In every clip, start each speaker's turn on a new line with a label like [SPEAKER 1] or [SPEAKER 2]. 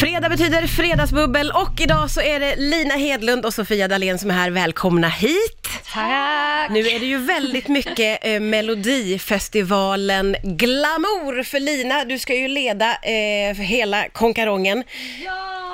[SPEAKER 1] fredag betyder fredagsbubbel och idag så är det Lina Hedlund och Sofia Dalén som är här. Välkomna hit!
[SPEAKER 2] Tack!
[SPEAKER 1] Nu är det ju väldigt mycket eh, Melodifestivalen Glamour för Lina. Du ska ju leda eh, för hela konkarongen.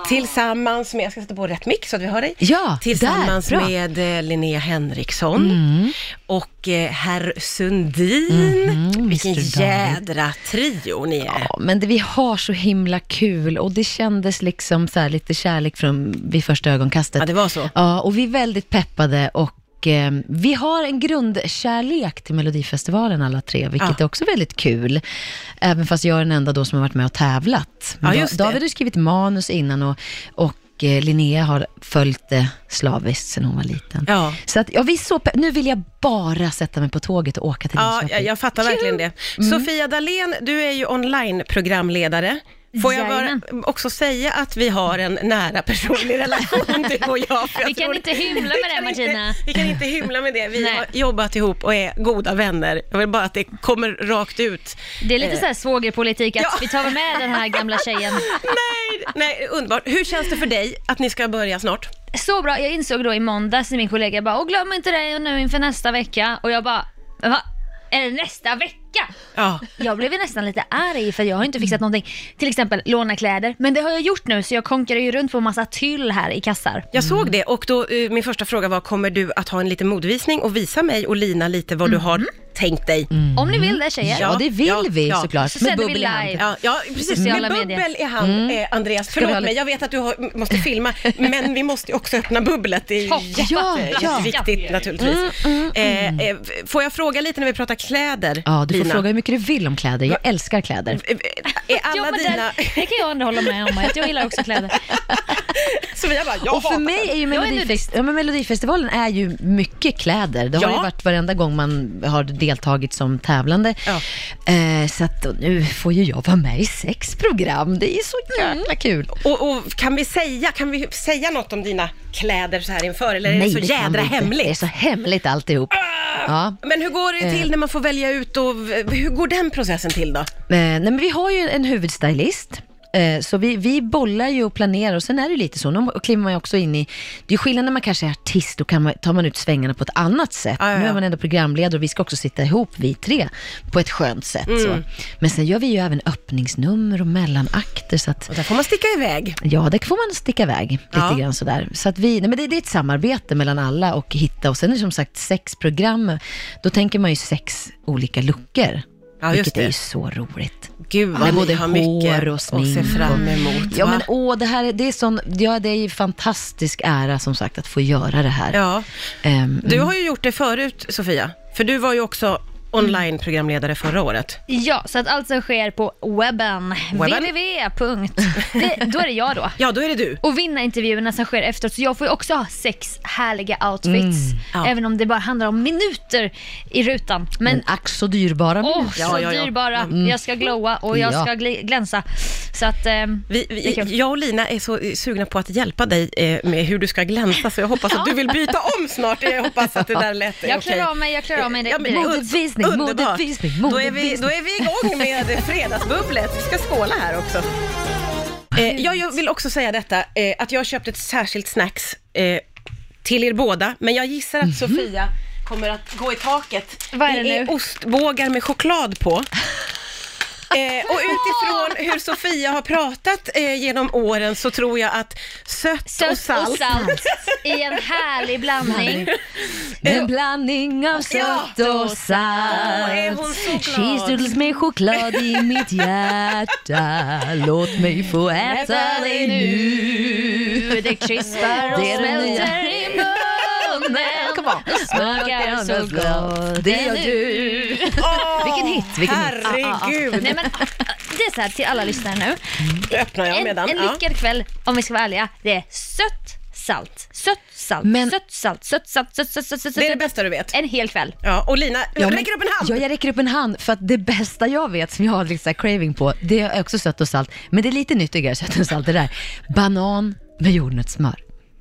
[SPEAKER 1] Tillsammans med, jag ska sätta på rätt mick så att vi hör dig.
[SPEAKER 2] Ja,
[SPEAKER 1] Tillsammans
[SPEAKER 2] där, bra. Mm.
[SPEAKER 1] med eh, Linnea Henriksson och eh, herr Sundin.
[SPEAKER 2] Mm-hmm,
[SPEAKER 1] Vilken
[SPEAKER 2] Mr. Darling.
[SPEAKER 1] jädra trio ni är.
[SPEAKER 2] Ja, men det, vi har så himla kul och det kändes liksom så här lite kärlek från vid första ögonkastet.
[SPEAKER 1] Ja, det var så.
[SPEAKER 2] Ja, och vi är väldigt peppade och eh, vi har en grundkärlek till Melodifestivalen alla tre, vilket
[SPEAKER 1] Ja.
[SPEAKER 2] är också väldigt kul. Även fast jag är den enda då som har varit med och tävlat.
[SPEAKER 1] Ja,
[SPEAKER 2] Men
[SPEAKER 1] just det.
[SPEAKER 2] David har ju skrivit manus innan och, och eh, Linnea har följt det slaviskt sedan hon var liten.
[SPEAKER 1] Ja.
[SPEAKER 2] Så att, ja, vi är så pe- nu vill jag bara sätta mig på tåget och åka till
[SPEAKER 1] Ja,
[SPEAKER 2] Linköping.
[SPEAKER 1] jag, jag fattar verkligen det.
[SPEAKER 3] Mm.
[SPEAKER 1] Sofia Dalén, du är ju online-programledare. Får jag bara
[SPEAKER 3] Jajamän.
[SPEAKER 1] också säga att vi har en nära personlig relation, du och jag. för jag
[SPEAKER 3] Vi kan
[SPEAKER 1] tror-
[SPEAKER 3] inte hymla
[SPEAKER 1] Vi
[SPEAKER 3] med det,
[SPEAKER 1] kan inte-
[SPEAKER 3] Martina.
[SPEAKER 1] Vi kan inte hymla med det. Vi
[SPEAKER 3] Nej.
[SPEAKER 1] har jobbat ihop och är goda vänner. Jag vill bara att det kommer rakt ut.
[SPEAKER 3] Det är lite så här svågerpolitik att
[SPEAKER 1] Eh. Ja.
[SPEAKER 3] vi tar väl med den här gamla tjejen.
[SPEAKER 1] Nej, nej, underbart. Hur känns det för dig att ni ska börja snart?
[SPEAKER 3] Så bra, jag insåg då i måndags när min kollega bara, och glöm inte det nu inför nästa vecka. Och jag bara, va? Är det nästa vecka?
[SPEAKER 1] Ja.
[SPEAKER 3] Jag blev ju nästan lite arg för jag har inte fixat någonting. Till exempel låna kläder. Men det har jag gjort nu så jag konkar ju runt på massa tyll här i kassar.
[SPEAKER 1] Jag såg det och då, eh, min första fråga var, kommer du att ha en liten modvisning och visa mig och Lina lite vad du har tänkt dig?
[SPEAKER 3] Om ni vill det tjejer.
[SPEAKER 2] Ja, det vill
[SPEAKER 1] Mm. Ja,
[SPEAKER 2] vi
[SPEAKER 1] ja.
[SPEAKER 2] såklart.
[SPEAKER 3] Så sänder vi
[SPEAKER 2] bubbel i hand.
[SPEAKER 3] live.
[SPEAKER 1] Ja, ja precis.
[SPEAKER 3] Sociala
[SPEAKER 1] Med bubbel
[SPEAKER 3] medier.
[SPEAKER 1] i hand, eh, Andreas.
[SPEAKER 2] Mm. vi
[SPEAKER 1] Förlåt
[SPEAKER 2] ha
[SPEAKER 1] mig,
[SPEAKER 2] lite-
[SPEAKER 1] jag vet att du har, måste filma, men vi måste ju också öppna bubblet. Det är
[SPEAKER 3] Ja,
[SPEAKER 1] jätte-
[SPEAKER 2] ja. Mm,
[SPEAKER 1] jätteviktigt naturligtvis. Eh, eh, får jag fråga lite när vi pratar kläder,
[SPEAKER 2] Ja, du får
[SPEAKER 1] Lina?
[SPEAKER 2] fråga hur mycket du vill om kläder. Jag älskar kläder.
[SPEAKER 1] Eh, Är alla
[SPEAKER 3] Jo, men
[SPEAKER 1] dina...
[SPEAKER 3] det, det kan jag ändå hålla med om, att jag gillar också kläder.
[SPEAKER 1] Sofia bara, jag
[SPEAKER 2] Och för
[SPEAKER 1] hatar
[SPEAKER 2] mig är ju
[SPEAKER 3] Jag är
[SPEAKER 2] Melodifest-
[SPEAKER 3] nudist.
[SPEAKER 2] ja, men Melodifestivalen är ju mycket kläder. Det har
[SPEAKER 1] Ja.
[SPEAKER 2] ju varit varenda gång man har deltagit som tävlande.
[SPEAKER 1] Ja.
[SPEAKER 2] Eh, så att och nu får ju jag vara med i sex program. Det är ju så
[SPEAKER 1] Mm.
[SPEAKER 2] jäkla kul.
[SPEAKER 1] Och, och kan vi säga, kan vi säga något om dina kläder så här inför, eller är det så
[SPEAKER 2] kan vi
[SPEAKER 1] jädra
[SPEAKER 2] inte. Det är
[SPEAKER 1] hemligt? Ah!
[SPEAKER 2] så Eh. hemligt alltihop. Ja.
[SPEAKER 1] Men hur går det till när man får välja ut och hur går den processen till då?
[SPEAKER 2] Eh, nej, men vi har ju en huvudstylist. Eh, Så vi, vi bollar ju och planerar och sen är det lite så, nu kliver man ju också in i, det är skillnad när man kanske är artist, då kan man, tar man ut svängarna på ett annat sätt.
[SPEAKER 1] Ja, ja,
[SPEAKER 2] Nu
[SPEAKER 1] ja.
[SPEAKER 2] är man ändå programledare och vi ska också sitta ihop, vi tre, på ett skönt sätt. Så.
[SPEAKER 1] Mm.
[SPEAKER 2] Men sen gör vi ju även öppningsnummer och mellanakter, så att
[SPEAKER 1] Och där får man sticka iväg.
[SPEAKER 2] ja, där får man sticka iväg lite
[SPEAKER 1] Ja.
[SPEAKER 2] grann sådär. Så att vi, nej, men det, det är ett samarbete mellan alla och hitta, och sen är det som sagt sex program, då tänker man ju sex olika luckor.
[SPEAKER 1] Ja, just
[SPEAKER 2] vilket är
[SPEAKER 1] det.
[SPEAKER 2] ju så roligt.
[SPEAKER 1] Gud
[SPEAKER 2] Med
[SPEAKER 1] vad ni
[SPEAKER 2] både
[SPEAKER 1] har
[SPEAKER 2] hår
[SPEAKER 1] mycket
[SPEAKER 2] och smink.
[SPEAKER 1] att se fram emot.
[SPEAKER 2] Ja,
[SPEAKER 1] va?
[SPEAKER 2] men åh, det här är, det är sån, ja, det är ju fantastisk ära som sagt att få göra det här.
[SPEAKER 1] ja.
[SPEAKER 2] Ehm,
[SPEAKER 1] Du
[SPEAKER 3] Mm.
[SPEAKER 1] har ju gjort det förut Sofia, för du var ju också online-programledare förra året.
[SPEAKER 3] Ja, så att allt som sker på webben,
[SPEAKER 1] Webben?
[SPEAKER 3] www. Det, då är det jag då.
[SPEAKER 1] Ja, då är det du.
[SPEAKER 3] Och vinnarintervjuerna som sker efteråt, så jag får ju också ha sex härliga outfits.
[SPEAKER 1] Mm. Ja.
[SPEAKER 3] Även om det bara handlar om minuter i rutan. Men
[SPEAKER 2] men ack så dyrbara.
[SPEAKER 3] åh,
[SPEAKER 2] minuter.
[SPEAKER 3] så
[SPEAKER 1] Ja, ja, Mm. ja.
[SPEAKER 3] dyrbara. Jag ska glowa och jag
[SPEAKER 2] Ja.
[SPEAKER 3] ska gl- glänsa. Så att, ehm,
[SPEAKER 1] Vi,
[SPEAKER 3] det är
[SPEAKER 1] vi,
[SPEAKER 3] kul.
[SPEAKER 1] jag och Lina är så eh, sugna på att hjälpa dig eh, med hur du ska glänsa, så jag hoppas att du vill byta om snart. Jag hoppas att det där lät eh,
[SPEAKER 3] Jag
[SPEAKER 1] okej.
[SPEAKER 3] klarar av mig, jag klarar av mig. Det,
[SPEAKER 1] Ja, men
[SPEAKER 3] direkt.
[SPEAKER 2] Modevisning,
[SPEAKER 1] underbart.
[SPEAKER 2] modevisning,
[SPEAKER 1] Då är, vi, då är vi igång med fredagsbubblet. Vi ska skåla här också. Eh, jag, jag vill också säga detta, eh, att jag har köpt ett särskilt snacks eh, till er båda, men jag gissar att Sofia kommer att gå i taket.
[SPEAKER 3] Vad är det
[SPEAKER 1] är
[SPEAKER 3] nu?
[SPEAKER 1] ostbågar med choklad på. Eh, och utifrån hur Sofia har pratat eh, genom åren så tror jag att sött,
[SPEAKER 3] Sött
[SPEAKER 1] och salt,
[SPEAKER 3] i en härlig blandning.
[SPEAKER 2] En blandning av sött och
[SPEAKER 1] Åh, är hon
[SPEAKER 2] salt.
[SPEAKER 1] så glad.
[SPEAKER 2] Cheesedoodles med choklad i mitt hjärta. Låt mig få äta det nu.
[SPEAKER 3] Det krispar och
[SPEAKER 2] Det är det
[SPEAKER 3] smälter i munnen.
[SPEAKER 2] Kom on.
[SPEAKER 3] Smakar så gott.
[SPEAKER 2] Det gör du.
[SPEAKER 1] Åh,
[SPEAKER 2] Vilken hit, vilken hit.
[SPEAKER 1] herregud.
[SPEAKER 3] Nej, men, ah, det är så här till alla lyssnare nu.
[SPEAKER 1] Det öppnar jag
[SPEAKER 3] En,
[SPEAKER 1] medan.
[SPEAKER 3] en
[SPEAKER 1] ja.
[SPEAKER 3] lyckad kväll, om vi ska vara ärliga, det är sött, salt, sött, salt,
[SPEAKER 2] Men-
[SPEAKER 3] sött, salt, sött, salt, sött, sött, sött, sött,
[SPEAKER 1] Det är det
[SPEAKER 3] sött.
[SPEAKER 1] bästa du vet.
[SPEAKER 3] En hel kväll.
[SPEAKER 1] Ja, och Lina,
[SPEAKER 2] Ja, men-
[SPEAKER 1] räcker upp en hand!
[SPEAKER 2] Ja, jag räcker upp en hand. För att det bästa jag vet, som jag har lite så här craving på, det är också sött och salt. Men det är lite nyttigare sött och salt det där. Banan med jordnötssmör.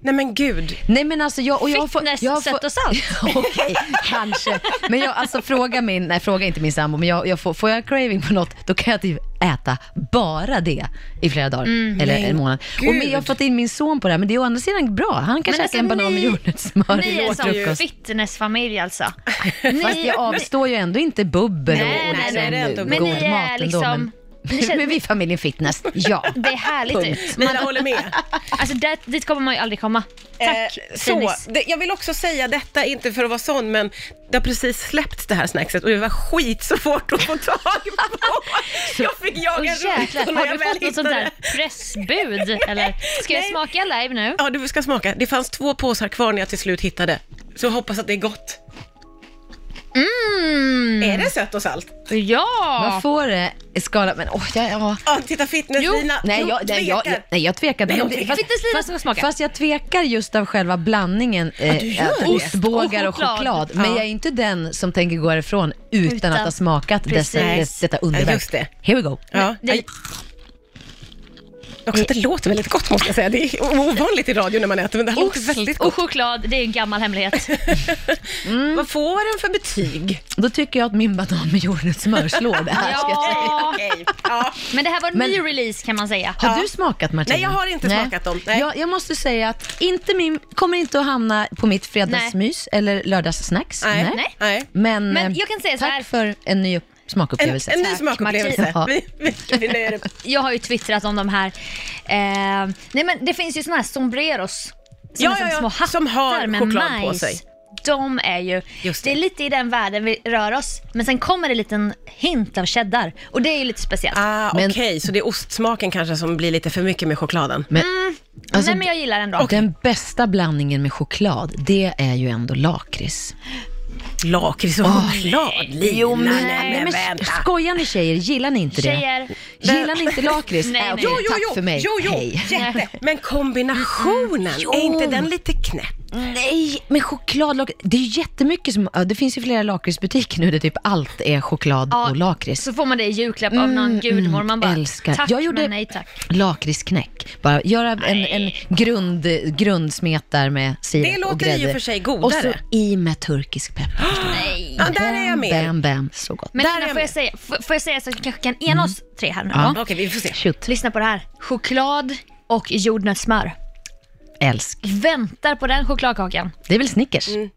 [SPEAKER 1] Nej men gud.
[SPEAKER 2] Nej men alltså jag... Och jag
[SPEAKER 3] Fitness,
[SPEAKER 2] jag
[SPEAKER 3] sött och salt.
[SPEAKER 2] Okej, kanske. Men jag, alltså fråga min, nej fråga inte min sambo, men jag, jag får, får jag craving på något, då kan jag typ äta bara det i flera dagar, eller
[SPEAKER 1] men
[SPEAKER 2] en månad. Och men
[SPEAKER 1] gud.
[SPEAKER 2] jag har fått in min son på det här, men det är å andra sidan bra. Han kan
[SPEAKER 3] Men
[SPEAKER 2] käka
[SPEAKER 3] alltså,
[SPEAKER 2] en banan med
[SPEAKER 3] ni-
[SPEAKER 2] jordnötssmör
[SPEAKER 3] Ni är en
[SPEAKER 2] till
[SPEAKER 3] sån
[SPEAKER 2] frukost.
[SPEAKER 3] fitnessfamilj alltså.
[SPEAKER 2] Fast jag avstår ju ändå inte bubbel och,
[SPEAKER 3] Nej,
[SPEAKER 2] och
[SPEAKER 3] nej,
[SPEAKER 2] liksom
[SPEAKER 1] nej, det är ändå
[SPEAKER 2] god
[SPEAKER 1] bra.
[SPEAKER 3] Men ni är
[SPEAKER 2] mat ändå.
[SPEAKER 3] liksom- Ni
[SPEAKER 2] men,
[SPEAKER 3] känner-
[SPEAKER 2] men vi är familjen fitness, ja.
[SPEAKER 3] Det är härligt.
[SPEAKER 2] Punkt.
[SPEAKER 1] Lina håller med.
[SPEAKER 3] Alltså där, dit kommer man ju aldrig komma. Tack
[SPEAKER 1] Eh, så,
[SPEAKER 3] Dennis.
[SPEAKER 1] det, jag vill också säga detta, inte för att vara sån, men det har precis släppts det här snackset och det var skit så fort att få tag på. Jag fick
[SPEAKER 3] Åh,
[SPEAKER 1] jaga runt
[SPEAKER 3] jäklar,
[SPEAKER 1] och när
[SPEAKER 3] har
[SPEAKER 1] jag
[SPEAKER 3] du
[SPEAKER 1] väl
[SPEAKER 3] fått något sånt där
[SPEAKER 1] hittade.
[SPEAKER 3] pressbud? Eller? Ska jag
[SPEAKER 1] Nej.
[SPEAKER 3] smaka live nu?
[SPEAKER 1] Ja, du ska smaka. Det fanns två påsar kvar när jag till slut hittade. Så jag hoppas att det är gott.
[SPEAKER 3] Mm.
[SPEAKER 1] Är det sött och salt?
[SPEAKER 2] Man
[SPEAKER 3] Ja!
[SPEAKER 2] får det i skala, men åh, ja, ja.
[SPEAKER 1] Ja, titta fitness-Lina.
[SPEAKER 2] Nej, jag, nej, jag, jag, nej, jag tvekar.
[SPEAKER 1] Nej,
[SPEAKER 2] Men
[SPEAKER 1] jag
[SPEAKER 2] om det-
[SPEAKER 1] tvekar.
[SPEAKER 2] fast-
[SPEAKER 3] Fitness Lina ska smaka.
[SPEAKER 2] Fast jag tvekar just av själva blandningen. Eh,
[SPEAKER 1] gör
[SPEAKER 2] att
[SPEAKER 1] det.
[SPEAKER 2] ostbågar och
[SPEAKER 3] Och choklad.
[SPEAKER 2] choklad. Men
[SPEAKER 1] Ja.
[SPEAKER 2] jag är inte den som tänker gå härifrån utan,
[SPEAKER 3] Utan.
[SPEAKER 2] att ha smakat dessa,
[SPEAKER 1] Precis.
[SPEAKER 2] detta underverk.
[SPEAKER 1] Just det.
[SPEAKER 2] Here we go.
[SPEAKER 1] Ja.
[SPEAKER 3] det-
[SPEAKER 1] Aj. Också att det låter väldigt gott måste jag säga. Det är o- ovanligt i radio när man äter, men det här låter väldigt
[SPEAKER 3] Och
[SPEAKER 1] gott.
[SPEAKER 3] choklad, det är en gammal hemlighet.
[SPEAKER 1] Mm. Vad får den för betyg?
[SPEAKER 2] Då tycker jag att min banan med jordnötssmör slår det här. ska jag säga.
[SPEAKER 3] Ja.
[SPEAKER 1] Okej. Ja.
[SPEAKER 3] Men det här var en
[SPEAKER 2] Men-
[SPEAKER 3] ny release kan man säga.
[SPEAKER 2] Har
[SPEAKER 1] Ja.
[SPEAKER 2] du smakat Martina?
[SPEAKER 1] Nej, jag har inte smakat dem. Nej.
[SPEAKER 2] Jag, jag måste säga att inte min, kommer inte att hamna på mitt fredagsmys eller lördagssnacks.
[SPEAKER 1] Nej.
[SPEAKER 3] Nej.
[SPEAKER 1] Nej.
[SPEAKER 2] Men,
[SPEAKER 3] Men
[SPEAKER 2] eh,
[SPEAKER 3] jag kan säga så
[SPEAKER 2] tack
[SPEAKER 3] här.
[SPEAKER 2] för en ny
[SPEAKER 1] En,
[SPEAKER 2] smakupplevelse.
[SPEAKER 1] en ny
[SPEAKER 3] Tack,
[SPEAKER 1] smakupplevelse.
[SPEAKER 2] Martina.
[SPEAKER 1] Vi, vi, vi nöjer oss.
[SPEAKER 3] Jag har ju twittrat om de här. Eh, nej men det finns ju såna här sombreros. Som
[SPEAKER 1] Ja,
[SPEAKER 3] är som
[SPEAKER 1] ja, ja,
[SPEAKER 3] små hattar
[SPEAKER 1] som har
[SPEAKER 3] med
[SPEAKER 1] choklad
[SPEAKER 3] majs.
[SPEAKER 1] på sig.
[SPEAKER 3] De är ju,
[SPEAKER 1] Just det.
[SPEAKER 3] det. är lite i den världen vi rör oss. Men sen kommer det en liten hint av cheddar. Och det är ju lite speciellt.
[SPEAKER 1] Ah, Okej,
[SPEAKER 2] Men-
[SPEAKER 1] så det är ostsmaken kanske som blir lite för mycket med chokladen.
[SPEAKER 2] alltså,
[SPEAKER 3] nej men jag gillar den då.
[SPEAKER 2] Den bästa blandningen med choklad, det är ju ändå lakrits.
[SPEAKER 1] Lakrits och choklad, Lina. Jo, men,
[SPEAKER 3] nej, men-
[SPEAKER 1] vänta.
[SPEAKER 2] Skojar ni tjejer? Gillar ni inte
[SPEAKER 3] Tjejer,
[SPEAKER 2] det? Gillar ni inte lakrits?
[SPEAKER 3] Nej,
[SPEAKER 2] Äh,
[SPEAKER 3] nej.
[SPEAKER 2] okej,
[SPEAKER 1] Jo, jo,
[SPEAKER 2] Tack
[SPEAKER 1] jo,
[SPEAKER 2] för mig.
[SPEAKER 1] jo, jo,
[SPEAKER 2] Hej.
[SPEAKER 1] jätte. Men kombinationen,
[SPEAKER 2] Jo.
[SPEAKER 1] är inte den lite knäpp?
[SPEAKER 2] Nej, men choklad, lak- det är ju jättemycket som, ja, det finns ju flera lakritsbutiker nu där typ allt är choklad
[SPEAKER 3] Ja,
[SPEAKER 2] och lakrits.
[SPEAKER 3] så får man det i julklapp av någon
[SPEAKER 1] Mm,
[SPEAKER 3] gudmor. Man bara,
[SPEAKER 2] älskar.
[SPEAKER 3] tack
[SPEAKER 2] Jag gjorde-
[SPEAKER 3] men nej tack.
[SPEAKER 2] Lakritsknäck. Bara göra en, en grund, grundsmet där med
[SPEAKER 1] Det
[SPEAKER 2] sirap
[SPEAKER 1] låter
[SPEAKER 2] och
[SPEAKER 1] i och
[SPEAKER 2] grädde.
[SPEAKER 1] för sig
[SPEAKER 2] Och så
[SPEAKER 1] godare.
[SPEAKER 2] i med turkisk peppar.
[SPEAKER 3] Nej.
[SPEAKER 1] Ja, där är jag med.
[SPEAKER 2] Bam, bam, så gott.
[SPEAKER 3] Men
[SPEAKER 1] Där är Mm.
[SPEAKER 3] Lina,
[SPEAKER 1] jag
[SPEAKER 3] får
[SPEAKER 1] med.
[SPEAKER 3] jag, säga, får, får jag säga så att vi kanske kan ena oss tre här nu då?
[SPEAKER 2] Ja.
[SPEAKER 1] Okej, vi får se.
[SPEAKER 2] Shoot,
[SPEAKER 3] Lyssna på det här. Choklad och jordnötssmör.
[SPEAKER 2] älsk.
[SPEAKER 3] Väntar på den chokladkakan.
[SPEAKER 2] Det är väl Snickers?
[SPEAKER 1] Mm.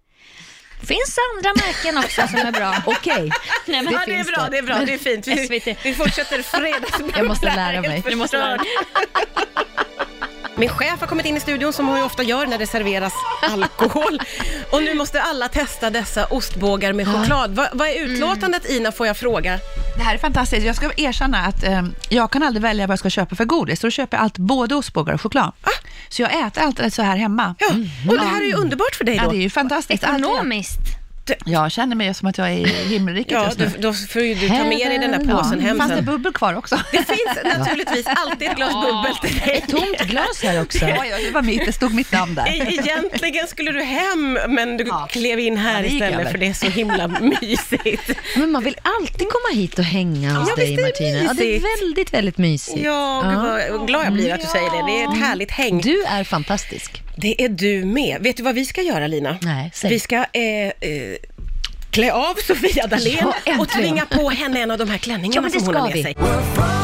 [SPEAKER 3] finns andra märken också som är bra.
[SPEAKER 2] Okej.
[SPEAKER 3] Nej, men,
[SPEAKER 1] Ja, det är
[SPEAKER 2] finns
[SPEAKER 1] bra,
[SPEAKER 2] det.
[SPEAKER 1] det är bra, det är fint. Vi,
[SPEAKER 3] SVT.
[SPEAKER 1] vi fortsätter fredagsbubblan.
[SPEAKER 2] Jag måste lära
[SPEAKER 1] Helt
[SPEAKER 2] mig.
[SPEAKER 1] förstörd.
[SPEAKER 3] Du måste lära dig.
[SPEAKER 1] Min chef har kommit in i studion som hon ju ofta gör när det serveras alkohol. Och nu måste alla testa dessa ostbågar med choklad. Va, vad
[SPEAKER 4] Mm.
[SPEAKER 1] är utlåtandet Ina, får jag fråga?
[SPEAKER 4] Det här är fantastiskt. Jag ska erkänna att eh, jag kan aldrig välja vad jag ska köpa för godis. Så då köper jag allt, både ostbågar och choklad. Så jag äter alltid så här hemma.
[SPEAKER 1] Ja, och det här är ju underbart för dig
[SPEAKER 4] Mm. Ja, det är
[SPEAKER 1] då.
[SPEAKER 4] ju fantastiskt. Allt jag-
[SPEAKER 3] Ekonomiskt.
[SPEAKER 4] Jag känner mig som att jag är i himmelriket
[SPEAKER 1] Ja,
[SPEAKER 4] just
[SPEAKER 1] du,
[SPEAKER 4] nu.
[SPEAKER 1] då får ju du ta med dig den där påsen hem
[SPEAKER 4] Fanns det
[SPEAKER 1] sen.
[SPEAKER 4] bubbel kvar också?
[SPEAKER 1] Det finns naturligtvis alltid ett glas bubbel till dig.
[SPEAKER 2] Tomt glas här också.
[SPEAKER 4] Ja, ja, det var mitt. Det stod mitt namn där.
[SPEAKER 1] E- Egentligen skulle du hem, men du klev in här
[SPEAKER 4] det gick
[SPEAKER 1] istället
[SPEAKER 4] över.
[SPEAKER 1] för det är så himla mysigt.
[SPEAKER 2] Men man vill alltid komma hit och hänga hos
[SPEAKER 1] Ja,
[SPEAKER 2] dig
[SPEAKER 1] visst är det
[SPEAKER 2] Martina. Ja, det
[SPEAKER 1] mysigt?
[SPEAKER 2] är väldigt, väldigt mysigt.
[SPEAKER 1] Ja, gud vad glad jag blir att du säger det. Det är ett härligt häng.
[SPEAKER 2] Du är fantastisk.
[SPEAKER 1] Det är du med. Vet du vad vi ska göra Lina?
[SPEAKER 2] Nej, säg.
[SPEAKER 1] Vi ska eh, eh, klä av Sofia Dalén
[SPEAKER 2] Ja, äntligen.
[SPEAKER 1] och tvinga på henne en av de här
[SPEAKER 2] Ja,
[SPEAKER 1] klänningarna
[SPEAKER 2] men det
[SPEAKER 1] som hon har
[SPEAKER 2] ska
[SPEAKER 1] med
[SPEAKER 2] vi.
[SPEAKER 1] sig.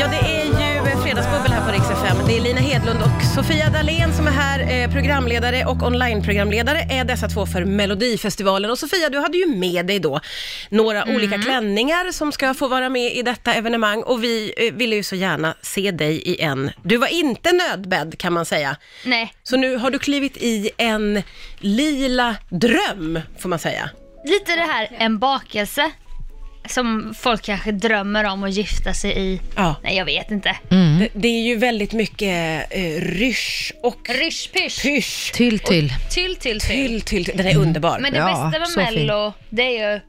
[SPEAKER 1] Ja, det är ju eh, Fredagsbubbel här på Rix FM. Det är Lina Hedlund och Sofia Dalén som är här, eh, programledare och online-programledare är dessa två för Melodifestivalen. Och Sofia, du hade ju med dig då några
[SPEAKER 2] Mm.
[SPEAKER 1] olika klänningar som ska få vara med i detta evenemang och vi eh, ville ju så gärna se dig i en. Du var inte nödbedd kan man säga.
[SPEAKER 3] Nej,
[SPEAKER 1] Så nu har du klivit i en lila dröm, får man säga.
[SPEAKER 3] lite det här en bakelse som folk kanske drömmer om att gifta sig i.
[SPEAKER 1] Ja.
[SPEAKER 3] Nej, jag vet inte.
[SPEAKER 1] Mm. Det, det är ju väldigt mycket eh, rysch och
[SPEAKER 3] Rysch-pysch.
[SPEAKER 1] pysch.
[SPEAKER 2] Tyll, tyll.
[SPEAKER 3] Tyll, tyll, tyll.
[SPEAKER 1] Till, till, till. Den är underbar.
[SPEAKER 3] Men det
[SPEAKER 2] Ja,
[SPEAKER 3] bästa med
[SPEAKER 2] så fin.
[SPEAKER 3] Mello, det är ju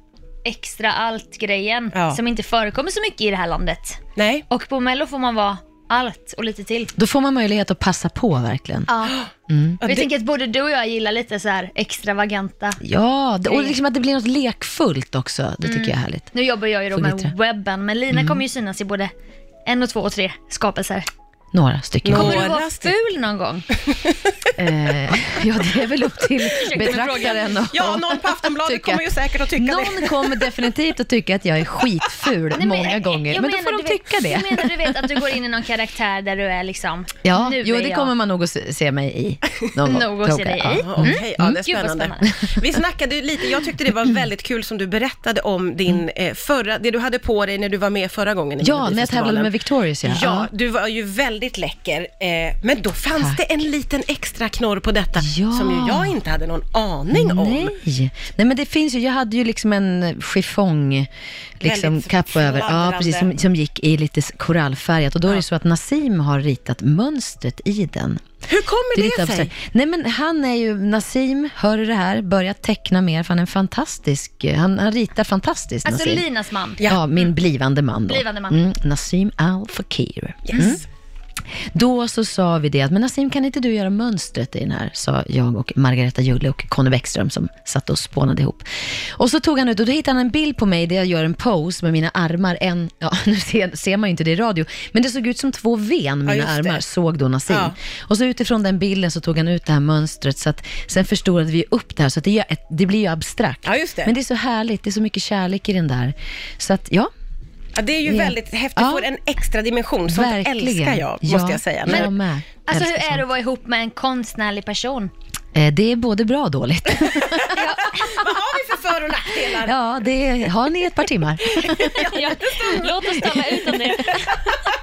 [SPEAKER 3] extra allt-grejen
[SPEAKER 1] Ja.
[SPEAKER 3] som inte förekommer så mycket i det här landet.
[SPEAKER 1] Nej.
[SPEAKER 3] Och på Mello får man vara allt och lite till.
[SPEAKER 2] Då får man möjlighet att passa på verkligen.
[SPEAKER 3] Ja. Och
[SPEAKER 1] Ja,
[SPEAKER 3] jag
[SPEAKER 1] det-
[SPEAKER 3] tänker att både du och jag gillar lite så här extravaganta
[SPEAKER 2] Ja, det- och liksom att det blir något lekfullt också. Det tycker
[SPEAKER 1] Mm.
[SPEAKER 2] jag är härligt.
[SPEAKER 3] Nu jobbar jag ju då
[SPEAKER 2] Får
[SPEAKER 3] med
[SPEAKER 2] glittra.
[SPEAKER 3] webben, men Lina kommer ju synas i både en och två och tre skapelser.
[SPEAKER 2] Några stycken.
[SPEAKER 1] Nå-
[SPEAKER 3] Kommer du
[SPEAKER 1] Några
[SPEAKER 3] vara
[SPEAKER 1] stycken.
[SPEAKER 3] ful någon gång?
[SPEAKER 2] Eh, ja, det är väl upp till betraktaren och
[SPEAKER 1] Ja, någon på Aftonbladet
[SPEAKER 2] tycka.
[SPEAKER 1] kommer ju säkert att tycka det.
[SPEAKER 2] Någon kommer definitivt att tycka att jag är skitful
[SPEAKER 3] Nej, men-
[SPEAKER 2] många gånger,
[SPEAKER 3] jag
[SPEAKER 2] men då
[SPEAKER 3] menar,
[SPEAKER 2] får de
[SPEAKER 3] du vet-
[SPEAKER 2] tycka
[SPEAKER 3] Jag
[SPEAKER 2] det.
[SPEAKER 3] menar du vet att du går in i någon karaktär där du är liksom,
[SPEAKER 2] Ja,
[SPEAKER 3] nu
[SPEAKER 2] jo,
[SPEAKER 3] är
[SPEAKER 2] det
[SPEAKER 3] jag.
[SPEAKER 2] kommer man nog att se se mig i. Någon gång.
[SPEAKER 3] Nog att se dig
[SPEAKER 2] Ja.
[SPEAKER 3] i.
[SPEAKER 1] Ja, Okej, ja, det är
[SPEAKER 3] Gud, vad
[SPEAKER 1] spännande.
[SPEAKER 3] spännande.
[SPEAKER 1] Vi snackade ju lite, jag tyckte det var väldigt kul som du berättade om din eh, förra, det du hade på dig när du var med förra gången i
[SPEAKER 2] Ja, när jag tävlade
[SPEAKER 1] Melodifestivalen.
[SPEAKER 2] med Victorious. Ja.
[SPEAKER 1] Ja, du var ju väldigt läcker, eh, men då fanns det en liten extra knorr på detta
[SPEAKER 2] Ja.
[SPEAKER 1] som ju jag inte hade någon aning om.
[SPEAKER 2] Nej. Nej, men det finns ju, jag hade ju liksom en chiffong, liksom
[SPEAKER 1] Väldigt
[SPEAKER 2] kappa över, ja,
[SPEAKER 1] fladdrande.
[SPEAKER 2] precis, som, som gick i lite s- korallfärgat och då är det så att Nassim har ritat mönstret i den.
[SPEAKER 1] Hur kommer
[SPEAKER 2] Det är
[SPEAKER 1] det,
[SPEAKER 2] lite
[SPEAKER 1] sig?
[SPEAKER 2] absurt. Nej men han är ju, Nassim, hör du det här, börja teckna mer, för han är en fantastisk, eh, han, han ritar fantastiskt
[SPEAKER 3] alltså
[SPEAKER 2] Nassim.
[SPEAKER 3] Linas man.
[SPEAKER 2] Ja,
[SPEAKER 1] mm.
[SPEAKER 2] min blivande man då.
[SPEAKER 3] Blivande man.
[SPEAKER 2] Mm, Nassim Al Fakir.
[SPEAKER 1] Yes.
[SPEAKER 2] Då så sa vi det att, men Nassim kan inte du göra mönstret i den här? Sa jag och Margareta Julle och Conny Bäckström som satt och spånade ihop. Och så tog han ut, och då hittade han en bild på mig där jag gör en pose med mina armar, en, ja nu ser, ser man ju inte det i radio, men det såg ut som två ven, mina
[SPEAKER 1] just det.
[SPEAKER 2] armar, såg då Nassim.
[SPEAKER 1] Ja.
[SPEAKER 2] Och så utifrån den bilden så tog han ut det här mönstret, så att sen förstorade vi upp det här, så att det, gör ett, det blir ju abstrakt.
[SPEAKER 1] Ja, just det.
[SPEAKER 2] Men det är så härligt, det är så mycket kärlek i den där. Så att ja,
[SPEAKER 1] Ja, det är ju
[SPEAKER 2] Ja.
[SPEAKER 1] väldigt häftigt,
[SPEAKER 2] Ja.
[SPEAKER 1] får en extra dimension. Sånt
[SPEAKER 2] verkligen.
[SPEAKER 1] älskar jag,
[SPEAKER 2] Ja,
[SPEAKER 1] måste jag säga.
[SPEAKER 2] Men,
[SPEAKER 1] Men,
[SPEAKER 2] jag med.
[SPEAKER 3] Alltså
[SPEAKER 2] Älskar
[SPEAKER 3] hur är
[SPEAKER 2] sånt.
[SPEAKER 3] det att vara ihop med en konstnärlig person?
[SPEAKER 2] Eh, Det är både bra och dåligt.
[SPEAKER 1] Vad har vi för för och nackdelar?
[SPEAKER 2] Ja, det har ni ett par timmar.
[SPEAKER 3] Ja, Låt oss tala ut om det.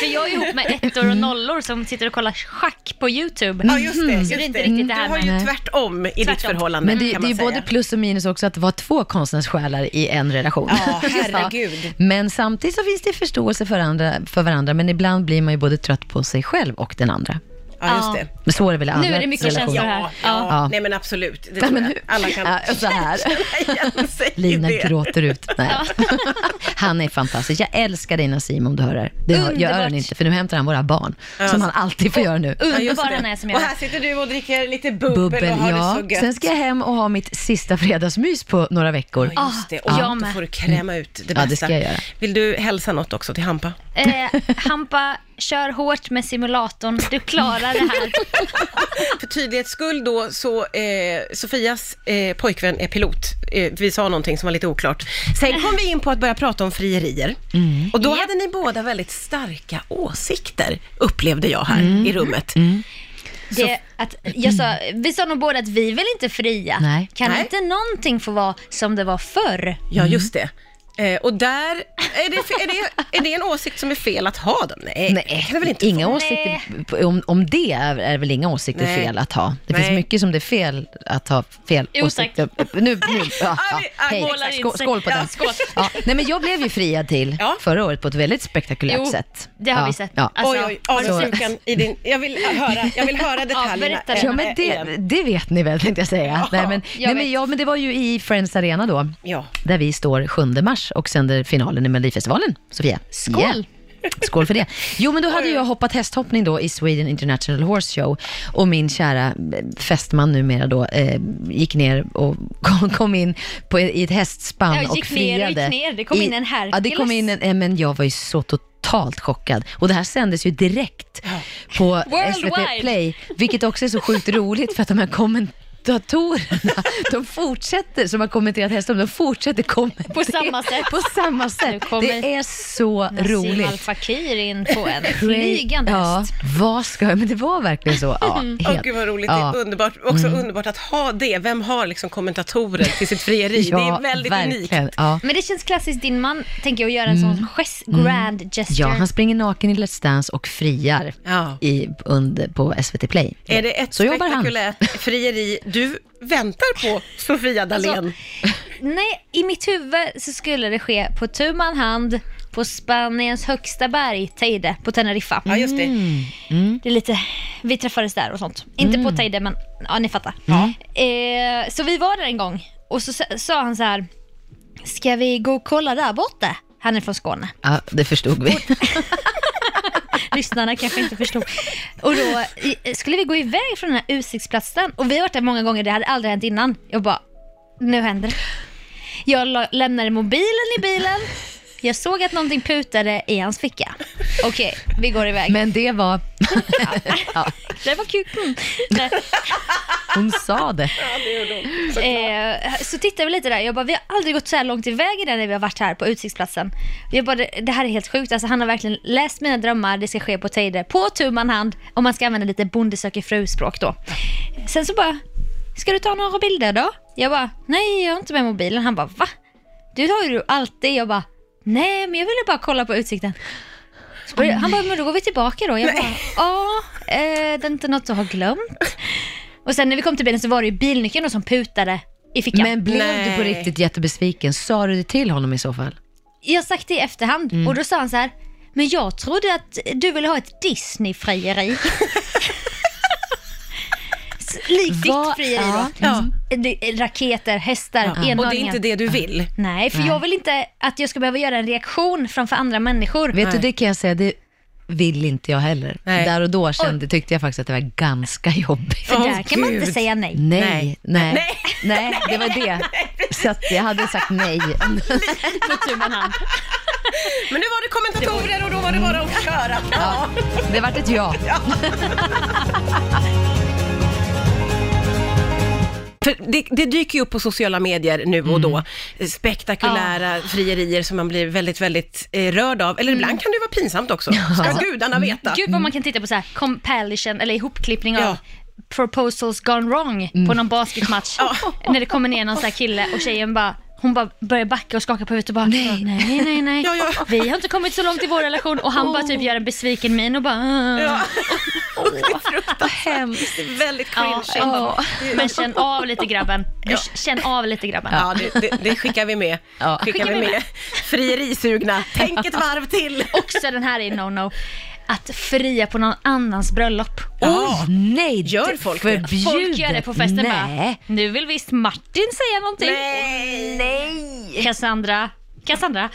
[SPEAKER 3] För jag är ihop med ettor och nollor som sitter och kollar schack på YouTube.
[SPEAKER 1] Ja, just det. Just
[SPEAKER 3] Så det är inte
[SPEAKER 1] det.
[SPEAKER 3] riktigt
[SPEAKER 1] du
[SPEAKER 3] det här
[SPEAKER 1] har
[SPEAKER 3] med...
[SPEAKER 2] med-
[SPEAKER 1] ju tvärtom i ditt
[SPEAKER 3] Tvärtom.
[SPEAKER 1] förhållande.
[SPEAKER 2] Mm-hmm. Mm, Men det,
[SPEAKER 1] kan
[SPEAKER 2] det är
[SPEAKER 1] man
[SPEAKER 2] ju både
[SPEAKER 1] säga.
[SPEAKER 2] plus och minus också att vara två konstnärssjälar i en relation.
[SPEAKER 1] Ja, herregud.
[SPEAKER 2] Men samtidigt så finns det förståelse för, andra, för varandra, men ibland blir man ju både trött på sig själv och den andra.
[SPEAKER 1] Ja, just
[SPEAKER 3] Ja.
[SPEAKER 1] det.
[SPEAKER 2] Men så är det väl i alla
[SPEAKER 3] Nu är det mycket
[SPEAKER 2] relationer.
[SPEAKER 3] känslor här.
[SPEAKER 1] Ja,
[SPEAKER 3] Ja.
[SPEAKER 1] ja. nej men absolut. Det
[SPEAKER 2] Ja,
[SPEAKER 1] tror
[SPEAKER 2] men
[SPEAKER 1] jag.
[SPEAKER 2] hur-
[SPEAKER 1] Alla kan
[SPEAKER 2] Ja, så här.
[SPEAKER 1] känna igen sig i
[SPEAKER 2] Lina
[SPEAKER 1] det.
[SPEAKER 2] gråter ut. Nej. Han är fantastisk. Jag älskar dig Nassim om du hör det här. Det hör- gör
[SPEAKER 3] Underbart.
[SPEAKER 2] han inte, för nu hämtar han våra barn, som han alltid får göra nu.
[SPEAKER 1] Ja, just
[SPEAKER 3] Underbar
[SPEAKER 1] det.
[SPEAKER 3] den är som
[SPEAKER 1] Och
[SPEAKER 3] jag är.
[SPEAKER 1] här sitter du och dricker lite bubbel,
[SPEAKER 2] Bubbel,
[SPEAKER 1] och har
[SPEAKER 2] ja.
[SPEAKER 1] det så gött.
[SPEAKER 2] Sen ska jag hem och ha mitt sista fredagsmys på några veckor.
[SPEAKER 1] Ja, Just det. Och
[SPEAKER 3] Ah, jag
[SPEAKER 1] då
[SPEAKER 3] med.
[SPEAKER 1] får du kräma ut det bästa.
[SPEAKER 2] Mm. Ja, det ska jag göra.
[SPEAKER 1] Vill du hälsa något också till Hampa?
[SPEAKER 3] Eh, Hampa, kör hårt med simulatorn. Du klarar det här.
[SPEAKER 1] För tydlighets skull då, så eh, Sofias eh, pojkvän är pilot. Eh, vi sa någonting som var lite oklart. Sen kom vi in på att börja prata om frierier.
[SPEAKER 2] Mm.
[SPEAKER 1] Och då hade ni båda väldigt starka åsikter, upplevde jag här
[SPEAKER 2] Mm.
[SPEAKER 1] i rummet.
[SPEAKER 3] Det, att, jag sa, vi sa nog båda att vi vill inte fria.
[SPEAKER 2] Nej.
[SPEAKER 3] Kan
[SPEAKER 1] Nej.
[SPEAKER 3] inte någonting få vara som det var förr?
[SPEAKER 1] Ja,
[SPEAKER 2] Mm.
[SPEAKER 1] just det. Eh, och där, är det, är, det, är det en åsikt som är fel att ha dem? Nej, det
[SPEAKER 2] Nej,
[SPEAKER 1] kan det väl inte
[SPEAKER 2] inga
[SPEAKER 1] vara?
[SPEAKER 2] åsikter, om, om det är, är väl inga åsikter
[SPEAKER 1] Nej.
[SPEAKER 2] fel att ha. Det
[SPEAKER 1] Nej.
[SPEAKER 2] finns mycket som det är fel att ha fel
[SPEAKER 3] Jo,
[SPEAKER 2] åsikter. Nu, nu, ja, ja.
[SPEAKER 1] vi-
[SPEAKER 2] Hej,
[SPEAKER 1] målar in
[SPEAKER 2] skål,
[SPEAKER 3] sig.
[SPEAKER 2] skål på
[SPEAKER 3] Ja,
[SPEAKER 2] den.
[SPEAKER 3] skål.
[SPEAKER 2] Ja. Nej, men jag blev ju friad till
[SPEAKER 1] Ja.
[SPEAKER 2] förra året på ett väldigt spektakulärt
[SPEAKER 3] Jo,
[SPEAKER 2] sätt.
[SPEAKER 3] det har
[SPEAKER 2] ja.
[SPEAKER 3] vi sett.
[SPEAKER 2] Ja.
[SPEAKER 3] Alltså,
[SPEAKER 1] oj, oj,
[SPEAKER 3] har du
[SPEAKER 1] avundsjukan i din... Jag vill höra, jag vill höra detaljerna. Eh,
[SPEAKER 3] berätta det.
[SPEAKER 2] Ja, men det, det vet ni väl, tänkte jag säga. nej, men, nej,
[SPEAKER 3] vet.
[SPEAKER 2] men, ja, men det var ju i Friends Arena då,
[SPEAKER 1] Ja.
[SPEAKER 2] där vi står 7 mars och sänder finalen i Melodifestivalen. Sofia?
[SPEAKER 3] Skål.
[SPEAKER 2] Skål för det. Jo, men då hade jag hoppat hästhoppning då i Sweden International Horse Show och min kära eh, fästman numera då eh, gick ner och kom, kom in på, i ett hästspann
[SPEAKER 3] Ja, gick
[SPEAKER 2] och friade.
[SPEAKER 3] ner och gick ner. Det kom
[SPEAKER 2] I-
[SPEAKER 3] in en Herkules.
[SPEAKER 2] Ja, det kom in en, eh, men jag var ju så totalt chockad. Och det här sändes ju direkt på SVT
[SPEAKER 3] Worldwide.
[SPEAKER 2] Play, vilket också är så sjukt roligt för att de här kommentatorerna, de fortsätter, som har kommenterat hästar, de fortsätter kommentera
[SPEAKER 3] På samma sätt.
[SPEAKER 2] På samma sätt.
[SPEAKER 3] Nu kommer
[SPEAKER 2] Det är så
[SPEAKER 3] Nassim
[SPEAKER 2] roligt.
[SPEAKER 3] Al Fakir in på en
[SPEAKER 2] Cray-
[SPEAKER 3] flygande
[SPEAKER 2] Ja,
[SPEAKER 3] häst. Mm.
[SPEAKER 2] vad ska jag, men det var verkligen så. Ja,
[SPEAKER 1] Åh
[SPEAKER 2] helt-
[SPEAKER 1] gud vad roligt,
[SPEAKER 2] Ja. Mm.
[SPEAKER 1] det är underbart. Också underbart att ha det. Vem har liksom kommentatorer till sitt frieri? det
[SPEAKER 2] Ja,
[SPEAKER 1] är väldigt unikt.
[SPEAKER 2] verkligen. Ja.
[SPEAKER 3] Men det känns klassiskt din man, tänker jag, att göra en sån gest, grand gesture.
[SPEAKER 2] Mm. ja, han springer naken i Let's Dance och friar
[SPEAKER 1] Ja.
[SPEAKER 2] i, under, på SVT Play.
[SPEAKER 1] Är det ett
[SPEAKER 2] Så jobbar han.
[SPEAKER 1] spektakulärt frieri du väntar på, Sofia Dalén?
[SPEAKER 3] Alltså, nej, i mitt huvud så skulle det ske på tu man hand på Spaniens högsta berg, Teide, på Teneriffa.
[SPEAKER 1] ja, just det.
[SPEAKER 2] mm.
[SPEAKER 3] Det är lite, vi träffades där och sånt. Inte på Teide, men ja, ni fattar. Eh, så vi var där en gång och så sa- sa han så här, ska vi gå och kolla där borta? Han är från Skåne.
[SPEAKER 2] Ja, det förstod vi.
[SPEAKER 3] Lyssnarna kanske inte förstod. Och då i- skulle vi gå iväg från den här utsiktsplatsen och vi har varit där många gånger, det hade aldrig hänt innan. Jag bara, nu händer det. Jag la- lämnade mobilen i bilen, Jag såg att någonting putade i hans ficka. Okej, vi går iväg.
[SPEAKER 2] Men det var... ja,
[SPEAKER 3] Det var kuken. Nej,
[SPEAKER 2] hon sa det.
[SPEAKER 3] eh, så tittade vi lite där. Jag bara, vi har aldrig gått så här långt iväg innan när vi har varit här på utsiktsplatsen. Jag bara, det det här är helt sjukt. Alltså, han har verkligen läst mina drömmar. Det ska ske på Teide. På tu man hand. Om man ska använda lite bonde söker fru-språk då. Sen så bara, ska du ta några bilder då? Jag bara, nej jag har inte med mobilen. Han bara, va? Du har ju du alltid. Jag bara, nej men jag ville bara kolla på utsikten. Så började- Han bara, men då går vi tillbaka då. Jag bara, ja, eh, det är inte något du har glömt. Och sen när vi kom till bilen så var det ju bilnyckeln då som putade i fickan.
[SPEAKER 2] Men blev du på
[SPEAKER 1] Nej.
[SPEAKER 2] riktigt jättebesviken? Sa du det till honom i så fall?
[SPEAKER 3] Jag har sagt det i efterhand
[SPEAKER 2] Mm.
[SPEAKER 3] och då sa han så här, men jag trodde att du ville ha ett Disney-frieri. S- Likt ditt
[SPEAKER 2] Vad-
[SPEAKER 3] frieri
[SPEAKER 2] ja.
[SPEAKER 3] då.
[SPEAKER 2] Mm.
[SPEAKER 3] Det- Raketer, hästar, enhörningar.
[SPEAKER 1] Och det är inte det du vill.
[SPEAKER 3] Nej, för
[SPEAKER 2] Nej.
[SPEAKER 3] jag vill inte att jag ska behöva göra en reaktion framför andra människor.
[SPEAKER 2] Vet du, det kan jag säga, det vill inte jag heller.
[SPEAKER 1] Nej.
[SPEAKER 2] Där och då kände, tyckte jag faktiskt att det var ganska jobbigt.
[SPEAKER 3] för
[SPEAKER 1] Åh,
[SPEAKER 3] där kan man inte
[SPEAKER 1] Gud.
[SPEAKER 3] säga nej.
[SPEAKER 2] Nej, nej, nej,
[SPEAKER 1] Nej.
[SPEAKER 2] det var det. Så att jag hade sagt nej.
[SPEAKER 1] Men nu var det kommentatorer och då var det bara att köra. Ja.
[SPEAKER 2] Det vart ett ja.
[SPEAKER 1] För det, det dyker ju upp på sociala medier nu och då,
[SPEAKER 2] Mm.
[SPEAKER 1] spektakulära frierier som man blir väldigt, väldigt eh, rörd av. Eller
[SPEAKER 2] Mm.
[SPEAKER 1] ibland kan det vara pinsamt också, ska gudarna veta.
[SPEAKER 3] Gud vad man kan titta på så här compilation eller ihopklippning av
[SPEAKER 1] Ja. Mm.
[SPEAKER 3] proposals gone wrong på någon basketmatch. När det kommer ner någon så här kille och tjejen bara hon bara börjar backa och skaka på huvudet och bara nej, nej, nej, nej.
[SPEAKER 1] Ja, ja. Oh.
[SPEAKER 3] Vi har inte kommit så långt i vår relation och han bara typ gör en besviken min och bara "Ah."
[SPEAKER 1] Ja.
[SPEAKER 2] Vad hemskt.
[SPEAKER 1] Det är väldigt
[SPEAKER 3] Ja,
[SPEAKER 1] cringe.
[SPEAKER 3] ja. ah, Men känn av lite grabben. Du, Känn av lite grabben.
[SPEAKER 1] Ja, det, det, det skickar vi med.
[SPEAKER 2] Ja.
[SPEAKER 1] Skickar vi med. Frierisugna, tänk ett varv till.
[SPEAKER 3] Också den här är no-no. Att fria på någon annans bröllop.
[SPEAKER 2] Oj, nej.
[SPEAKER 1] Gör folk det?
[SPEAKER 2] förbjudet.
[SPEAKER 3] Folk gör det på festen bara,
[SPEAKER 2] Nej.
[SPEAKER 3] nu vill visst Martin säga någonting.
[SPEAKER 1] Nej!
[SPEAKER 3] Cassandra. Cassandra,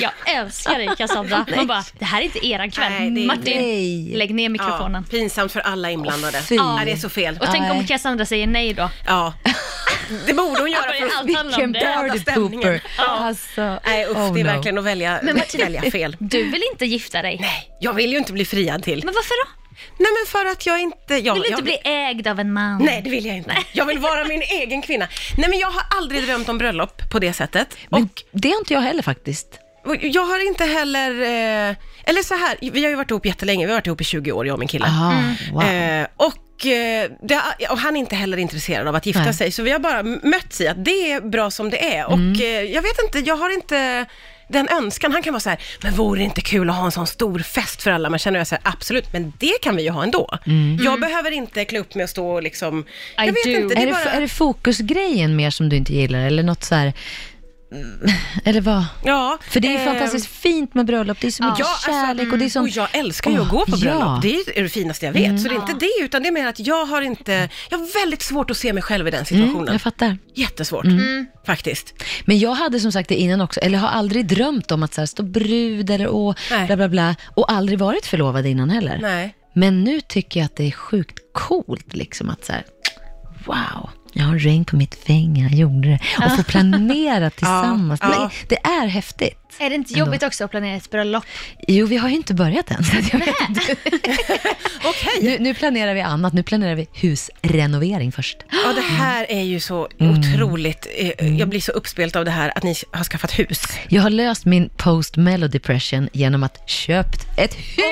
[SPEAKER 3] jag älskar dig Cassandra. Man bara, det här är inte eran kväll.
[SPEAKER 1] Nej, det är-
[SPEAKER 3] Martin,
[SPEAKER 2] Nej.
[SPEAKER 3] lägg ner
[SPEAKER 1] Ja,
[SPEAKER 3] mikrofonen.
[SPEAKER 1] pinsamt för alla inblandade.
[SPEAKER 2] Åh, fy.
[SPEAKER 1] ja, det är så fel.
[SPEAKER 3] Och tänk om
[SPEAKER 2] Nej.
[SPEAKER 3] Cassandra säger nej då.
[SPEAKER 1] Ja. Det borde hon göra.
[SPEAKER 3] Det är
[SPEAKER 1] För...
[SPEAKER 3] allt handlar
[SPEAKER 2] Vilken
[SPEAKER 3] om det.
[SPEAKER 2] party
[SPEAKER 1] stämningen.
[SPEAKER 2] pooper. Alltså,
[SPEAKER 1] Nej usch,
[SPEAKER 2] oh
[SPEAKER 1] det är
[SPEAKER 2] no.
[SPEAKER 1] verkligen att välja, välja fel.
[SPEAKER 3] Du vill inte gifta dig.
[SPEAKER 1] Nej, jag vill ju inte bli friad till.
[SPEAKER 3] Men varför då?
[SPEAKER 1] Nej men för att jag inte... Jag,
[SPEAKER 3] Vill du inte
[SPEAKER 1] jag,
[SPEAKER 3] bli ägd av en man?
[SPEAKER 1] Nej, det vill jag inte. Jag vill vara min egen kvinna. Nej men jag har aldrig drömt om bröllop på det sättet.
[SPEAKER 2] Men
[SPEAKER 1] Och
[SPEAKER 2] det har inte jag heller faktiskt.
[SPEAKER 1] Och Jag har inte heller, eh, eller så här, vi har ju varit ihop jättelänge, vi har varit ihop i 20 år jag och min kille.
[SPEAKER 2] Aha, Ah, wow.
[SPEAKER 1] Eh, och, eh, det, och han är inte heller intresserad av att gifta
[SPEAKER 2] Nej.
[SPEAKER 1] sig, så vi har bara m- mötts i att det är bra som det är.
[SPEAKER 2] Mm.
[SPEAKER 1] Och eh, jag vet inte, jag har inte den önskan. Han kan vara så här, men vore det inte kul att ha en sån stor fest för alla? Man känner jag så här, absolut, men det kan vi ju ha ändå.
[SPEAKER 2] Mm.
[SPEAKER 1] Jag behöver inte klä upp mig och stå och liksom, jag
[SPEAKER 3] I
[SPEAKER 1] vet
[SPEAKER 3] do.
[SPEAKER 1] inte, det
[SPEAKER 2] är,
[SPEAKER 1] är
[SPEAKER 2] det,
[SPEAKER 1] bara...
[SPEAKER 2] är det fokusgrejen mer som du inte gillar eller något så här... mm, Eller vad?
[SPEAKER 1] ja,
[SPEAKER 2] För det är ju
[SPEAKER 1] eh,
[SPEAKER 2] fantastiskt fint med bröllop, det är så mycket
[SPEAKER 1] Ja, alltså,
[SPEAKER 2] kärlek och det är som...
[SPEAKER 1] Och jag älskar ju att gå på
[SPEAKER 2] Åh,
[SPEAKER 1] bröllop.
[SPEAKER 2] ja.
[SPEAKER 1] Det är ju det finaste jag vet. Så det är inte det, utan det är mer att jag har inte... Jag har väldigt svårt att se mig själv i den situationen.
[SPEAKER 2] Mm, jag Mm. fattar.
[SPEAKER 1] Jättesvårt, faktiskt.
[SPEAKER 2] Men jag hade som sagt det innan också, eller har aldrig drömt om att så här, stå brud eller och
[SPEAKER 1] Nej.
[SPEAKER 2] bla bla bla. Och aldrig varit förlovad innan heller.
[SPEAKER 1] Nej.
[SPEAKER 2] Men nu tycker jag att det är sjukt coolt liksom att så här, wow, jag har en ring på mitt finger, jag gjorde det. Och få planera tillsammans.
[SPEAKER 1] Ja, ja.
[SPEAKER 2] Nej, Det är häftigt.
[SPEAKER 3] Är det inte jobbigt också att planera ett bröllop?
[SPEAKER 2] Jo, vi har ju inte börjat än. Så att jag vet inte.
[SPEAKER 1] Okej.
[SPEAKER 2] Nu, nu planerar vi annat, nu planerar vi husrenovering först.
[SPEAKER 1] Ja, det här är ju så
[SPEAKER 2] Mm.
[SPEAKER 1] otroligt... eh, Jag blir så uppspelt av det här att ni har skaffat hus.
[SPEAKER 2] Jag har löst min post mellow depression genom att köpt ett hus.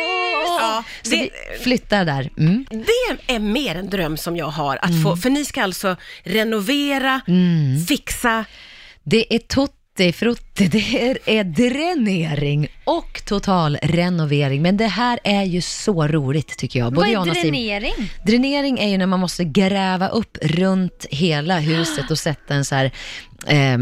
[SPEAKER 1] Ja,
[SPEAKER 2] Så
[SPEAKER 1] det-
[SPEAKER 2] vi flyttar där. Mm.
[SPEAKER 1] Det är mer en dröm som jag har, att få, för ni ska alltså renovera,
[SPEAKER 2] Mm.
[SPEAKER 1] fixa,
[SPEAKER 2] Det är tutti frutti, det är, är dränering och total renovering. Men det här är ju så roligt tycker jag.
[SPEAKER 3] Vad
[SPEAKER 2] Både jag och
[SPEAKER 3] är
[SPEAKER 2] Nassim.
[SPEAKER 3] dränering?
[SPEAKER 2] Dränering är ju när man måste gräva upp runt hela huset och sätta en så här eh,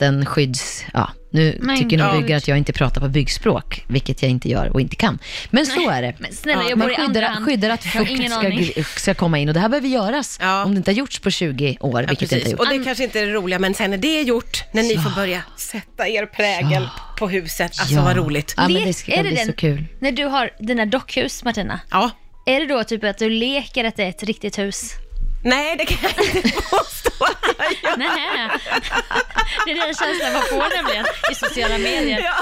[SPEAKER 2] vattenskydds... Ja, nu
[SPEAKER 3] Men
[SPEAKER 2] tycker nog
[SPEAKER 3] gud.
[SPEAKER 2] byggare att jag inte pratar på byggspråk, vilket jag inte gör och inte kan. Men så är det.
[SPEAKER 3] Men snälla,
[SPEAKER 1] Ja,
[SPEAKER 3] jag
[SPEAKER 2] Man
[SPEAKER 3] bor i andra
[SPEAKER 2] skyddar,
[SPEAKER 3] hand.
[SPEAKER 2] skyddar att
[SPEAKER 3] Jag har
[SPEAKER 2] fukt
[SPEAKER 3] ingen
[SPEAKER 2] ska,
[SPEAKER 3] aning.
[SPEAKER 2] ska komma in och det här behöver göras
[SPEAKER 1] Ja.
[SPEAKER 2] om det inte har gjorts på 20 år, vilket det inte har
[SPEAKER 1] Precis.
[SPEAKER 2] gjorts.
[SPEAKER 1] Och det kanske inte är det roliga, men sen när det är gjort, när ni får börja sätta er prägel på huset, alltså vad roligt.
[SPEAKER 2] Ja, men
[SPEAKER 3] Lek-
[SPEAKER 2] det ska bli så kul.
[SPEAKER 3] När du har dina dockhus, Martina,
[SPEAKER 1] Ja,
[SPEAKER 3] är det då typ att du leker att det är ett riktigt hus?
[SPEAKER 1] Nej, det kan jag inte påstå att jag gör.
[SPEAKER 3] Nej. Det är den känslan man får nämligen i sociala medier.
[SPEAKER 1] Ja.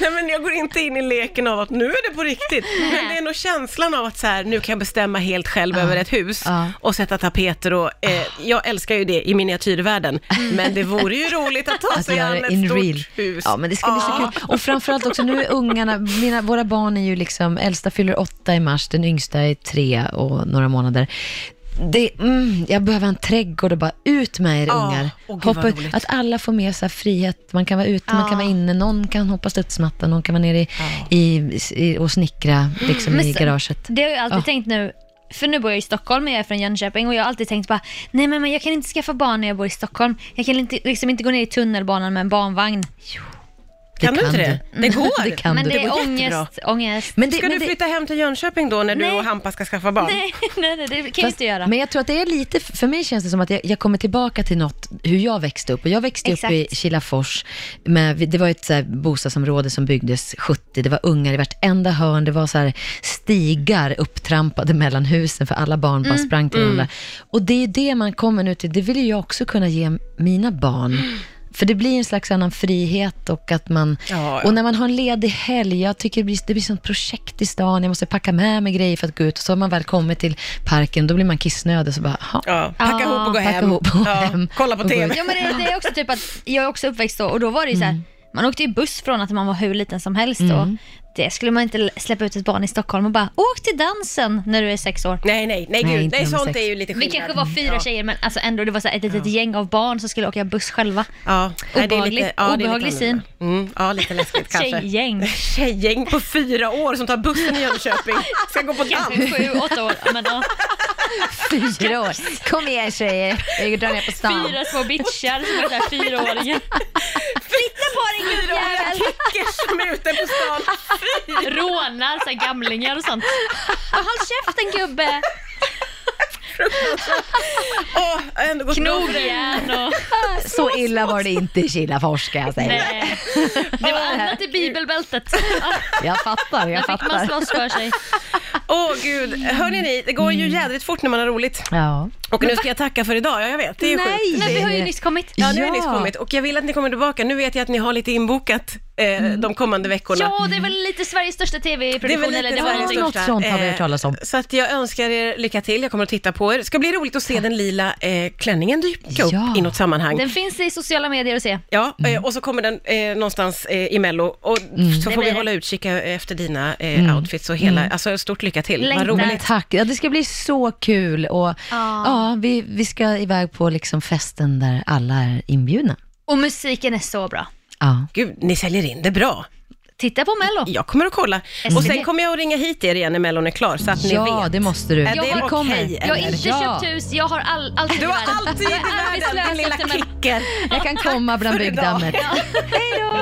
[SPEAKER 1] Nej, men jag går inte in i leken av att nu är det på riktigt. Men det är nog känslan av att så här, nu kan jag bestämma helt själv över ett hus
[SPEAKER 2] Ja.
[SPEAKER 1] och sätta tapeter och eh, jag älskar ju det i miniatyrvärlden. Men det vore ju roligt att ta
[SPEAKER 2] Att
[SPEAKER 1] sig
[SPEAKER 2] göra
[SPEAKER 1] an
[SPEAKER 2] det
[SPEAKER 1] Alltså, ett
[SPEAKER 2] in
[SPEAKER 1] stort
[SPEAKER 2] real.
[SPEAKER 1] hus.
[SPEAKER 2] Ja, men det ska bli så kul. Och framförallt också, nu är ungarna, mina, våra barn är ju liksom, äldsta fyller åtta i mars, den yngsta är tre och några månader. Det, mm, jag behöver en trädgård och bara ut med er
[SPEAKER 1] Ja,
[SPEAKER 2] ungar.
[SPEAKER 1] åh gud, vad
[SPEAKER 2] Hoppa, ut.
[SPEAKER 1] roligt.
[SPEAKER 2] att alla får med sig frihet. Man kan vara ute, man kan vara inne, någon kan hoppa studsmatta, någon kan vara nere i, i, i, och snickra liksom,
[SPEAKER 3] Men
[SPEAKER 2] i
[SPEAKER 3] så-
[SPEAKER 2] garaget.
[SPEAKER 3] Det har jag alltid
[SPEAKER 2] Ja.
[SPEAKER 3] tänkt nu, för nu bor jag i Stockholm men jag är från Jönköping och jag har alltid tänkt bara, nej men men jag kan inte skaffa barn när jag bor i Stockholm. Jag kan inte, liksom inte gå ner i tunnelbanan med en barnvagn.
[SPEAKER 1] Kan du inte det? Det går.
[SPEAKER 2] det kan
[SPEAKER 3] men
[SPEAKER 2] du.
[SPEAKER 3] det är
[SPEAKER 1] går jättebra.
[SPEAKER 3] ångest, ångest.
[SPEAKER 2] Men det,
[SPEAKER 1] Ska du
[SPEAKER 2] men det-
[SPEAKER 1] flytta hem till Jönköping då när du
[SPEAKER 3] Nej.
[SPEAKER 1] och Hampa ska skaffa barn?
[SPEAKER 3] Nej, nej, nej, det kan jag
[SPEAKER 2] Fast-
[SPEAKER 3] inte göra.
[SPEAKER 2] Men jag tror att det är lite, för mig känns det som att jag, jag kommer tillbaka till något, hur jag växte upp. Och jag växte
[SPEAKER 3] Exakt.
[SPEAKER 2] upp i Kilafors, med, det var ett så här bostadsområde som byggdes 70, det var ungar i vartenda hörn, det var så här stigar upptrampade mellan husen, för alla barn
[SPEAKER 3] Mm,
[SPEAKER 2] bara sprang till varandra. Och det är det man kommer nu till, det vill ju jag också kunna ge mina barn. För det blir en slags annan frihet och att man...
[SPEAKER 1] Ja, ja.
[SPEAKER 2] Och när man har en ledig helg, jag tycker det blir, det blir sånt projekt i stan, jag måste packa med mig grejer för att gå ut och så har man väl kommit till parken, då blir man kissnödig så bara, "Jaha."
[SPEAKER 1] Ja, packa
[SPEAKER 3] Ja,
[SPEAKER 1] ihop och gå
[SPEAKER 2] packa
[SPEAKER 1] hem.
[SPEAKER 2] ihop och gå
[SPEAKER 1] ja,
[SPEAKER 2] hem.
[SPEAKER 1] Kolla på
[SPEAKER 2] Och gå
[SPEAKER 1] TV.
[SPEAKER 2] ut.
[SPEAKER 3] Ja, men det, det är också typ att jag är också uppväxt då och då var det ju så här,
[SPEAKER 2] Mm.
[SPEAKER 3] man åkte ju buss från att man var hur liten som helst då. Det skulle man inte l- släppa ut ett barn i Stockholm och bara åk till dansen när du är sex år.
[SPEAKER 1] Nej, nej, nej,
[SPEAKER 2] Nej,
[SPEAKER 1] gud.
[SPEAKER 2] inte
[SPEAKER 1] nej
[SPEAKER 2] nummer
[SPEAKER 1] sånt
[SPEAKER 2] sex.
[SPEAKER 1] är ju lite
[SPEAKER 3] Vi
[SPEAKER 1] skillnad.
[SPEAKER 3] kanske var fyra tjejer men alltså ändå det var så här ett litet gäng av barn som skulle åka buss själva.
[SPEAKER 1] Ja. Nej, det är
[SPEAKER 3] Obehaglig-
[SPEAKER 1] lite- ja, det är lite
[SPEAKER 3] obehaglig syn.
[SPEAKER 1] annorlunda. Mm, ja, lite läskigt kanske.
[SPEAKER 3] Tjejgäng.
[SPEAKER 1] Tjejgäng på fyra år som tar bussen i Jönköping, ska gå på dans.
[SPEAKER 3] Kanske sju, åtta år. Men, ja.
[SPEAKER 2] Fyra år. Kom igen tjejer, jag drar ner på stan.
[SPEAKER 3] Fyra små bitchar som är där fyraåringar. Flytta på dig
[SPEAKER 1] Fyraåriga
[SPEAKER 3] gubbjävel!
[SPEAKER 1] kickers som är ute på stan.
[SPEAKER 3] Rånar så här gamlingar och sånt. Och håll käften gubbe!
[SPEAKER 1] Åh, jag har ändå gått
[SPEAKER 3] Knogjärn och...
[SPEAKER 2] Så illa var det inte i Kilafors ska jag säga.
[SPEAKER 3] Nej. Det var annat i bibelbältet. Ja,
[SPEAKER 2] Jag fattar, jag
[SPEAKER 3] Där fick man
[SPEAKER 2] fattar.
[SPEAKER 3] slåss för sig.
[SPEAKER 1] Åh gud, hörni ni, det går ju
[SPEAKER 3] Mm.
[SPEAKER 1] jädrigt fort när man har roligt.
[SPEAKER 2] Ja.
[SPEAKER 1] Och nu ska jag tacka för idag, ja jag vet, det är ju sjukt.
[SPEAKER 2] Nej.
[SPEAKER 3] Men vi har ju nyss kommit.
[SPEAKER 1] Ja, nu har ni
[SPEAKER 2] Ja.
[SPEAKER 1] kommit och jag vill att ni kommer tillbaka. Nu vet jag att ni har lite inbokat eh, de kommande veckorna.
[SPEAKER 3] Mm. Ja, det är väl lite Sveriges största TV-produktion. eller det var
[SPEAKER 1] Sveriges
[SPEAKER 3] någonting.
[SPEAKER 2] något
[SPEAKER 1] största.
[SPEAKER 2] sånt har vi hört
[SPEAKER 1] Eh,
[SPEAKER 2] talas om.
[SPEAKER 1] Så att jag önskar er lycka till, jag kommer att titta på er. Det ska bli roligt att se den lila eh, klänningen dyka upp
[SPEAKER 2] Ja.
[SPEAKER 1] i något sammanhang.
[SPEAKER 3] Den finns i sociala medier att se.
[SPEAKER 1] Ja,
[SPEAKER 2] Mm.
[SPEAKER 1] eh, och så kommer den eh, någonstans eh, i Mello och så
[SPEAKER 3] Det
[SPEAKER 1] får vi
[SPEAKER 3] blir det.
[SPEAKER 1] hålla utkik efter dina eh,
[SPEAKER 2] Mm.
[SPEAKER 1] outfits och hela, alltså stort lycka till. Vad
[SPEAKER 3] Längtar.
[SPEAKER 1] roligt.
[SPEAKER 2] Men tack, ja, det ska bli så kul och ja, vi, vi ska iväg på liksom festen där alla är inbjudna.
[SPEAKER 3] Och musiken är så bra.
[SPEAKER 2] Ja.
[SPEAKER 1] Gud, ni säljer in det bra.
[SPEAKER 3] Titta på Mello.
[SPEAKER 1] Jag kommer att kolla. Och sen
[SPEAKER 3] SVT.
[SPEAKER 1] kommer jag att ringa hit er igen när Mellon är klar, så att ni
[SPEAKER 2] Ja,
[SPEAKER 1] vet.
[SPEAKER 2] det måste du.
[SPEAKER 1] Är
[SPEAKER 3] det
[SPEAKER 2] vi
[SPEAKER 3] okej,
[SPEAKER 2] kommer.
[SPEAKER 1] eller?
[SPEAKER 3] Jag har inte
[SPEAKER 2] Ja.
[SPEAKER 3] köpt hus, jag har all, allt
[SPEAKER 1] Du har alltid i
[SPEAKER 3] Jag är
[SPEAKER 1] världen, din
[SPEAKER 3] arbetslös
[SPEAKER 1] lilla
[SPEAKER 3] efter Mello.
[SPEAKER 1] kicker.
[SPEAKER 2] Jag kan komma bland
[SPEAKER 1] för idag.
[SPEAKER 2] byggdammet.
[SPEAKER 3] Hej då!